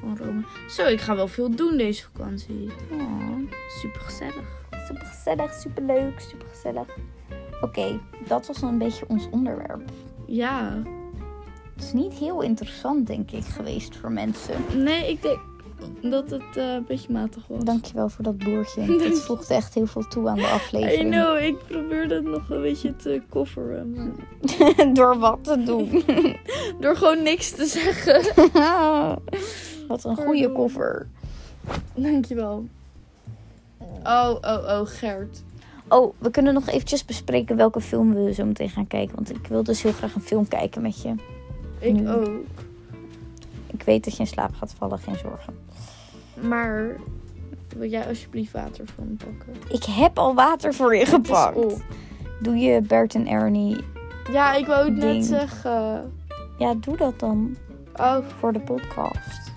Speaker 3: van Rome. Zo, ik ga wel veel doen deze vakantie.
Speaker 2: ja.
Speaker 3: Super gezellig.
Speaker 2: Super gezellig, super leuk, super gezellig. Oké, dat was dan een beetje ons onderwerp.
Speaker 3: Ja.
Speaker 2: Het is niet heel interessant, denk ik, geweest voor mensen.
Speaker 3: Nee, ik denk dat het eh, een beetje matig was.
Speaker 2: Dankjewel voor dat <laughs> boertje. Dit voegde echt heel veel toe aan de
Speaker 3: I
Speaker 2: aflevering.
Speaker 3: know, ik probeer dat nog een beetje te coveren. maar-
Speaker 2: <laughs> Door wat te doen. <laughs>
Speaker 3: Door gewoon niks te zeggen.
Speaker 2: wat een goede koffer.
Speaker 3: Dankjewel. Oh, oh, oh, Gert.
Speaker 2: Oh, we kunnen nog eventjes bespreken welke film we zo meteen gaan kijken. Want ik wil dus heel graag een film kijken met je.
Speaker 3: Ik
Speaker 2: Ja.
Speaker 3: ook.
Speaker 2: Ik weet dat je in slaap gaat vallen, geen zorgen.
Speaker 3: Maar wil jij alsjeblieft water voor me pakken?
Speaker 2: Ik heb al water voor je gepakt.
Speaker 3: op.
Speaker 2: Doe je Bert en Ernie.
Speaker 3: Ja, ik wou het net
Speaker 2: Ding.
Speaker 3: zeggen.
Speaker 2: Ja, doe dat dan
Speaker 3: Oh,
Speaker 2: voor de podcast.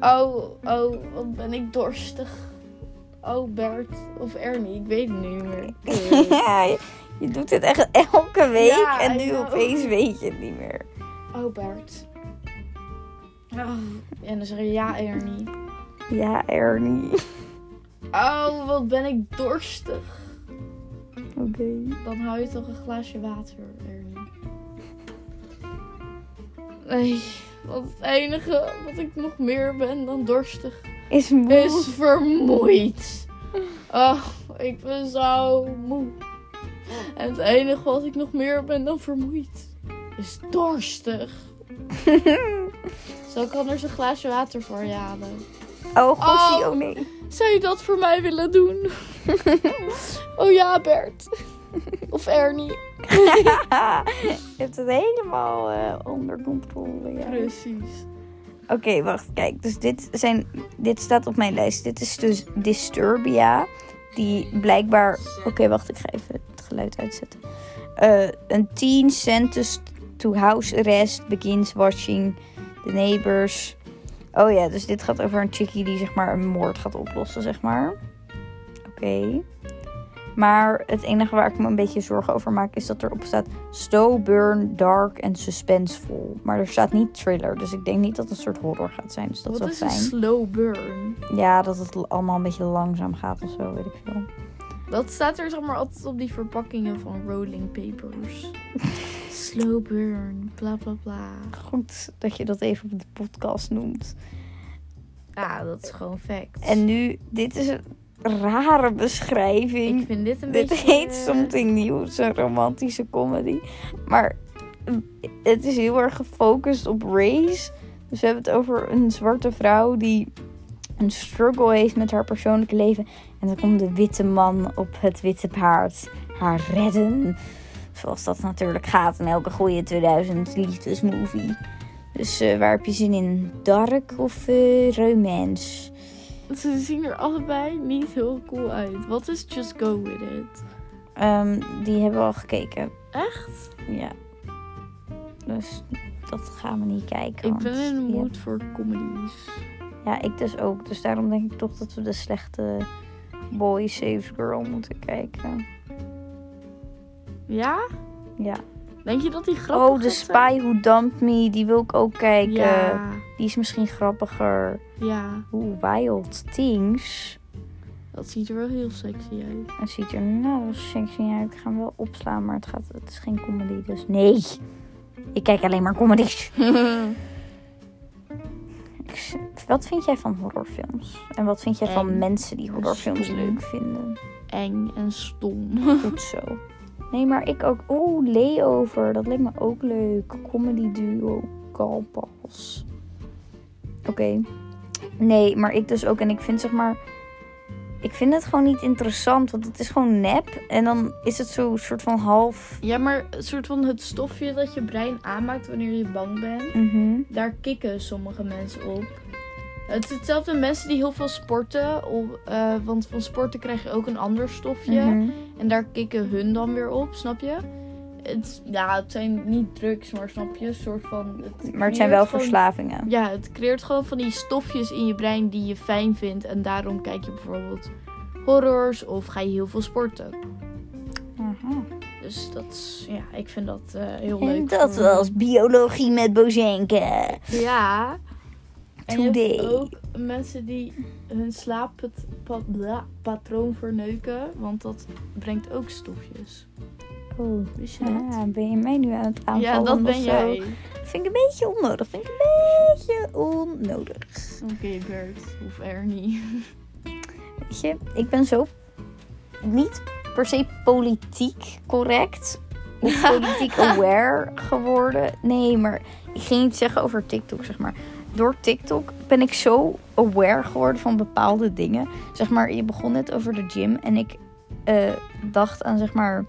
Speaker 3: oh, oh, wat ben ik dorstig. Oh, Bert of Ernie, ik weet het niet meer.
Speaker 2: <laughs> Ja, je, je doet dit echt elke week
Speaker 3: Ja,
Speaker 2: en
Speaker 3: I
Speaker 2: nu
Speaker 3: know.
Speaker 2: opeens weet je het niet meer.
Speaker 3: Oh, Bert. Oh, en dan zeg je ja, Ernie.
Speaker 2: Ja, Ernie. <laughs> Oké.
Speaker 3: Oh, wat ben ik dorstig. Dan hou je toch een glaasje water, Ernie. Nee, want het enige wat ik nog meer ben dan dorstig
Speaker 2: Is moe.
Speaker 3: is vermoeid. Oh, ik ben zo moe. En het enige wat ik nog meer ben dan vermoeid is dorstig. Zo ik anders een glaasje water voor je halen.
Speaker 2: oh, goshie,
Speaker 3: Oh.
Speaker 2: oh. nee. <laughs>
Speaker 3: Zou je dat voor mij willen doen? oh ja, Bert. Of Ernie.
Speaker 2: je hebt het helemaal eh, onder controle. Ja.
Speaker 3: Precies.
Speaker 2: Oké, wacht, kijk. Dus dit, zijn, dit staat op mijn lijst. Dit is dus Disturbia. Die blijkbaar... Oké, wacht, ik ga even het geluid uitzetten. Eh, een teen sentenced to house arrest begins watching the neighbors. Oh ja, dus dit gaat over een chickie die zeg maar een moord gaat oplossen, zeg maar. Oké. Maar het enige waar ik me een beetje zorgen over maak is dat erop staat slow burn, dark en suspensevol. Maar er staat niet thriller, dus ik denk niet dat het een soort horror gaat zijn. Dus dat
Speaker 3: Wat
Speaker 2: wel
Speaker 3: is
Speaker 2: fijn.
Speaker 3: een slow burn?
Speaker 2: Ja, dat het allemaal een beetje langzaam gaat of zo, weet ik veel.
Speaker 3: Dat staat er zeg maar altijd op die verpakkingen van rolling
Speaker 2: <laughs>
Speaker 3: papers. slow burn, bla bla bla.
Speaker 2: Goed dat je dat even op de podcast noemt.
Speaker 3: Ja, dat is gewoon fact.
Speaker 2: En nu, dit is een rare beschrijving.
Speaker 3: ik vind dit een
Speaker 2: <laughs> Dit
Speaker 3: beetje... eh,
Speaker 2: heet Something Nieuws, een romantische comedy. Maar mm, het is heel erg gefocust op race. Dus we hebben het over een zwarte vrouw die een struggle heeft met haar persoonlijk leven. En dan komt de witte man op het witte paard haar redden. Zoals dat natuurlijk gaat in elke goede 2000 liefdesmovie. Dus eh, waar heb je zin in? Dark of eh, romance?
Speaker 3: Ze zien er allebei niet heel cool uit. Wat is Just Go With It?
Speaker 2: Ehm, die hebben we al gekeken.
Speaker 3: Echt?
Speaker 2: Ja. Dus dat gaan we niet kijken.
Speaker 3: Ik
Speaker 2: want
Speaker 3: ben in de
Speaker 2: die
Speaker 3: mood voor comedies.
Speaker 2: heb- Ja, ik dus ook. Dus daarom denk ik toch dat we de slechte Boy Saves Girl moeten kijken.
Speaker 3: Ja?
Speaker 2: Ja.
Speaker 3: Denk je dat die grappig
Speaker 2: Oh, The
Speaker 3: gaat zijn?
Speaker 2: Spy Who Dumped Me. Die wil ik ook kijken.
Speaker 3: Ja,
Speaker 2: Die is misschien grappiger.
Speaker 3: ja.
Speaker 2: Oeh, Wild Things.
Speaker 3: Dat ziet er wel heel sexy uit.
Speaker 2: Het ziet er nou sexy uit. Ik ga hem wel opslaan, maar het, gaat, het is geen comedy. Dus nee. Ik kijk alleen maar comedies. Ik z- Wat vind jij van horrorfilms? En wat vind jij van
Speaker 3: Eng.
Speaker 2: mensen die horrorfilms
Speaker 3: Stom.
Speaker 2: leuk vinden?
Speaker 3: Eng en stom.
Speaker 2: Goed zo. Nee, maar ik ook. Oeh, Layover. Dat leek me ook leuk. Comedy duo. Kalpas. Oké. Nee, maar ik dus ook. En ik vind zeg maar... Ik vind het gewoon niet interessant. Want het is gewoon nep. En dan is het zo soort van half...
Speaker 3: Ja, maar een soort van het stofje dat je brein aanmaakt wanneer je bang bent.
Speaker 2: Mhm.
Speaker 3: Daar kicken sommige mensen op. Het is hetzelfde met mensen die heel veel sporten. Of, eh, want van sporten krijg je ook een ander stofje.
Speaker 2: mhm.
Speaker 3: En daar kicken hun dan weer op, snap je? Het, ja, het zijn niet drugs, maar snap je? Een soort van...
Speaker 2: Maar het zijn
Speaker 3: creëert
Speaker 2: wel
Speaker 3: gewoon-
Speaker 2: verslavingen.
Speaker 3: Ja, het creëert gewoon van die stofjes in je brein die je fijn vindt. En daarom kijk je bijvoorbeeld horrors of ga je heel veel sporten.
Speaker 2: Aha.
Speaker 3: Dus dat is, ja, ik vind dat eh, heel leuk.
Speaker 2: En dat
Speaker 3: voor-
Speaker 2: was biologie met Bozenke.
Speaker 3: Ja. En je hebt
Speaker 2: Today.
Speaker 3: ook mensen die hun slaappatroon verneuken, want dat brengt ook stofjes.
Speaker 2: Oeh.
Speaker 3: Wist je dat?
Speaker 2: Oh, Ja, ben je mij nu aan het aanvallen?
Speaker 3: ja, dat
Speaker 2: of
Speaker 3: ben
Speaker 2: zo?
Speaker 3: jij.
Speaker 2: Vind ik een beetje onnodig. Vind ik een beetje onnodig.
Speaker 3: Oké, Bert of Ernie.
Speaker 2: Weet je, ik ben zo niet per se politiek correct of politiek aware geworden. Nee, maar ik ging iets zeggen over TikTok, zeg maar. Door TikTok ben ik zo aware geworden van bepaalde dingen. Zeg maar, je begon net over de gym en ik eh, dacht aan, zeg maar...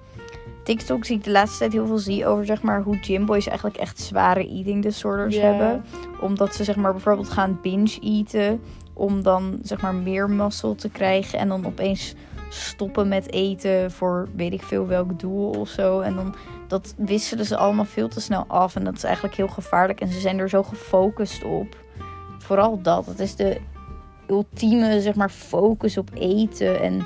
Speaker 2: TikToks die ik de laatste tijd heel veel zie over zeg maar, hoe gymboys eigenlijk echt zware eating disorders
Speaker 3: Ja.
Speaker 2: hebben. Omdat ze zeg maar, bijvoorbeeld gaan binge eten om dan zeg maar, meer muscle te krijgen. En dan opeens stoppen met eten voor weet ik veel welk doel of zo. En dan dat wisselen ze allemaal veel te snel af. En dat is eigenlijk heel gevaarlijk. En ze zijn er zo gefocust op. Vooral dat. Het is de ultieme zeg maar, focus op eten. En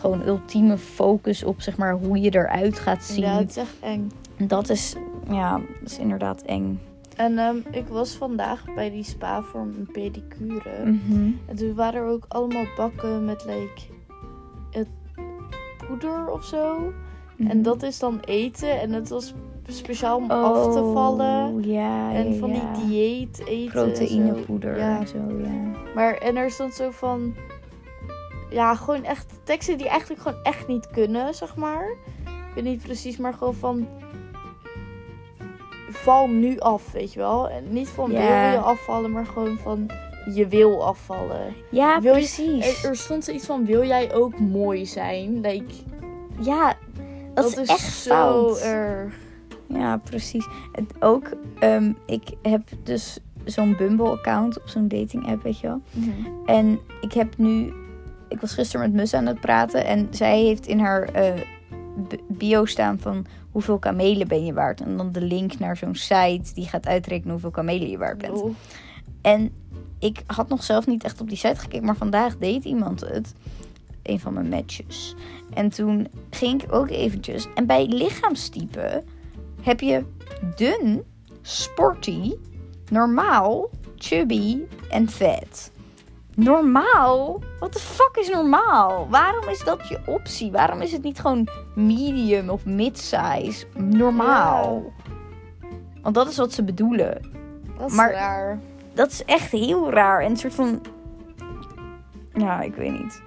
Speaker 2: gewoon ultieme focus op zeg maar, hoe je eruit gaat zien.
Speaker 3: Ja, het is echt eng.
Speaker 2: En Dat is, ja, dat is inderdaad eng.
Speaker 3: En ehm, ik was vandaag bij die spa voor een pedicure.
Speaker 2: Mm.
Speaker 3: En toen waren er ook allemaal bakken met like, het poeder of zo.
Speaker 2: Mhm.
Speaker 3: En dat is dan eten. En het was speciaal om af te vallen.
Speaker 2: Oh, Ja, ja,
Speaker 3: En van
Speaker 2: ja.
Speaker 3: die dieet eten. en
Speaker 2: Proteïnepoeder
Speaker 3: zo. Ja.
Speaker 2: en zo, ja.
Speaker 3: Maar en er stond zo van. Ja, gewoon echt teksten die eigenlijk gewoon echt niet kunnen, zeg maar. Ik weet niet precies, maar gewoon van. Val nu af, weet je wel. En niet van
Speaker 2: Ja.
Speaker 3: wil je afvallen, maar gewoon van je wil afvallen.
Speaker 2: Ja,
Speaker 3: Wil je-
Speaker 2: precies.
Speaker 3: Er, er stond zoiets van wil jij ook mooi zijn? Like,
Speaker 2: Ja, dat, is, echt
Speaker 3: zo
Speaker 2: fout.
Speaker 3: erg.
Speaker 2: Ja, precies. En ook, ehm, ik heb dus zo'n Bumble-account op zo'n dating-app, weet je wel. En ik heb nu. Ik was gisteren met Mus aan het praten en zij heeft in haar eh, b- bio staan van hoeveel kamelen ben je waard. En dan de link naar zo'n site die gaat uitrekenen hoeveel kamelen je waard bent.
Speaker 3: Lol.
Speaker 2: En ik had nog zelf niet echt op die site gekeken, maar vandaag deed iemand het. een van mijn matches. En toen ging ik ook eventjes. En bij lichaamstype heb je dun, sporty, normaal, chubby en vet. Normaal? What the fuck is normaal? Waarom is dat je optie? Waarom is het niet gewoon medium of mid-size? Normaal. Want dat is wat ze bedoelen
Speaker 3: Dat is
Speaker 2: Maar-
Speaker 3: raar.
Speaker 2: dat is echt heel raar. En een soort van. Ja, ik weet niet.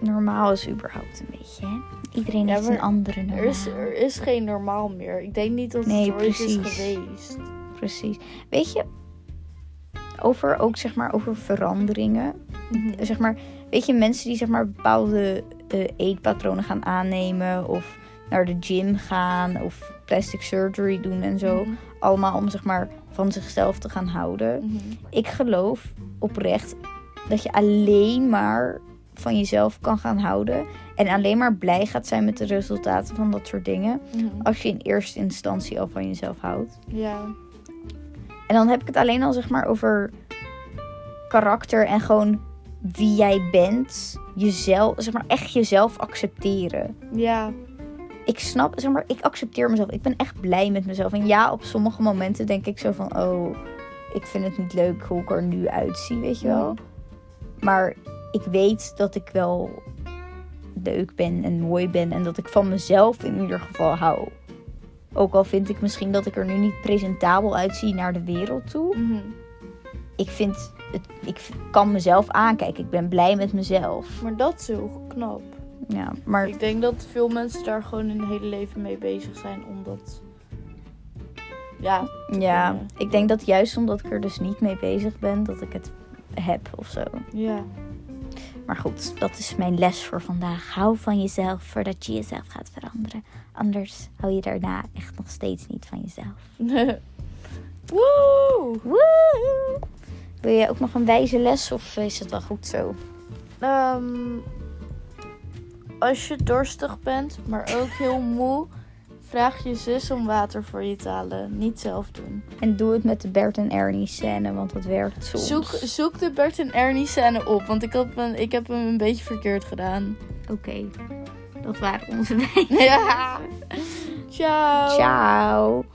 Speaker 2: Normaal is überhaupt een beetje, hè? Iedereen
Speaker 3: Ja,
Speaker 2: heeft
Speaker 3: maar
Speaker 2: een andere normaal.
Speaker 3: Er is, er is geen normaal meer. Ik denk niet dat
Speaker 2: Nee,
Speaker 3: het ooit is
Speaker 2: precies.
Speaker 3: geweest.
Speaker 2: Precies. Weet je, over ook zeg maar over veranderingen. Zeg maar, weet je, mensen die zeg maar bepaalde eh, eetpatronen gaan aannemen of naar de gym gaan of plastic surgery doen en zo.
Speaker 3: Mhm.
Speaker 2: Allemaal om zeg maar van zichzelf te gaan houden.
Speaker 3: Mhm.
Speaker 2: ik geloof oprecht dat je alleen maar van jezelf kan gaan houden. En alleen maar blij gaat zijn met de resultaten van dat soort dingen.
Speaker 3: Mhm.
Speaker 2: Als je in eerste instantie al van jezelf houdt.
Speaker 3: Ja.
Speaker 2: En dan heb ik het alleen al zeg maar over karakter en gewoon wie jij bent. Jezelf, zeg maar echt jezelf accepteren.
Speaker 3: Ja.
Speaker 2: Ik snap, zeg maar, ik accepteer mezelf. Ik ben echt blij met mezelf. En ja, op sommige momenten denk ik zo van, oh, ik vind het niet leuk hoe ik er nu uitzie, weet je wel. Maar ik weet dat ik wel leuk ben en mooi ben. En dat ik van mezelf in ieder geval hou. Ook al vind ik misschien dat ik er nu niet presentabel uitzie naar de wereld toe.
Speaker 3: Mhm.
Speaker 2: Ik vind, het, ik v- kan mezelf aankijken. Ik ben blij met mezelf.
Speaker 3: Maar dat is heel knap.
Speaker 2: Ja, maar
Speaker 3: Ik denk dat veel mensen daar gewoon hun hele leven mee bezig zijn. Omdat... Ja.
Speaker 2: ja, ik denk dat juist omdat ik er dus niet mee bezig ben, dat ik het heb of zo.
Speaker 3: Ja. <laughs>
Speaker 2: Maar goed, dat is mijn les voor vandaag. Hou van jezelf voordat je jezelf gaat veranderen. Anders hou je daarna echt nog steeds niet van jezelf.
Speaker 3: Woe!
Speaker 2: Woehoe! Wil je ook nog een wijze les of is het wel goed zo?
Speaker 3: Ehm, als je dorstig bent, maar ook heel moe, vraag je zus om water voor je te halen. Niet zelf doen.
Speaker 2: En doe het met de Bert en Ernie scène, want dat werkt soms.
Speaker 3: Zoek, zoek de Bert en Ernie scène op, want ik, heb een, ik heb hem een beetje verkeerd gedaan.
Speaker 2: Oké, dat waren onze wijzen.
Speaker 3: Ja. Ciao.
Speaker 2: Ciao!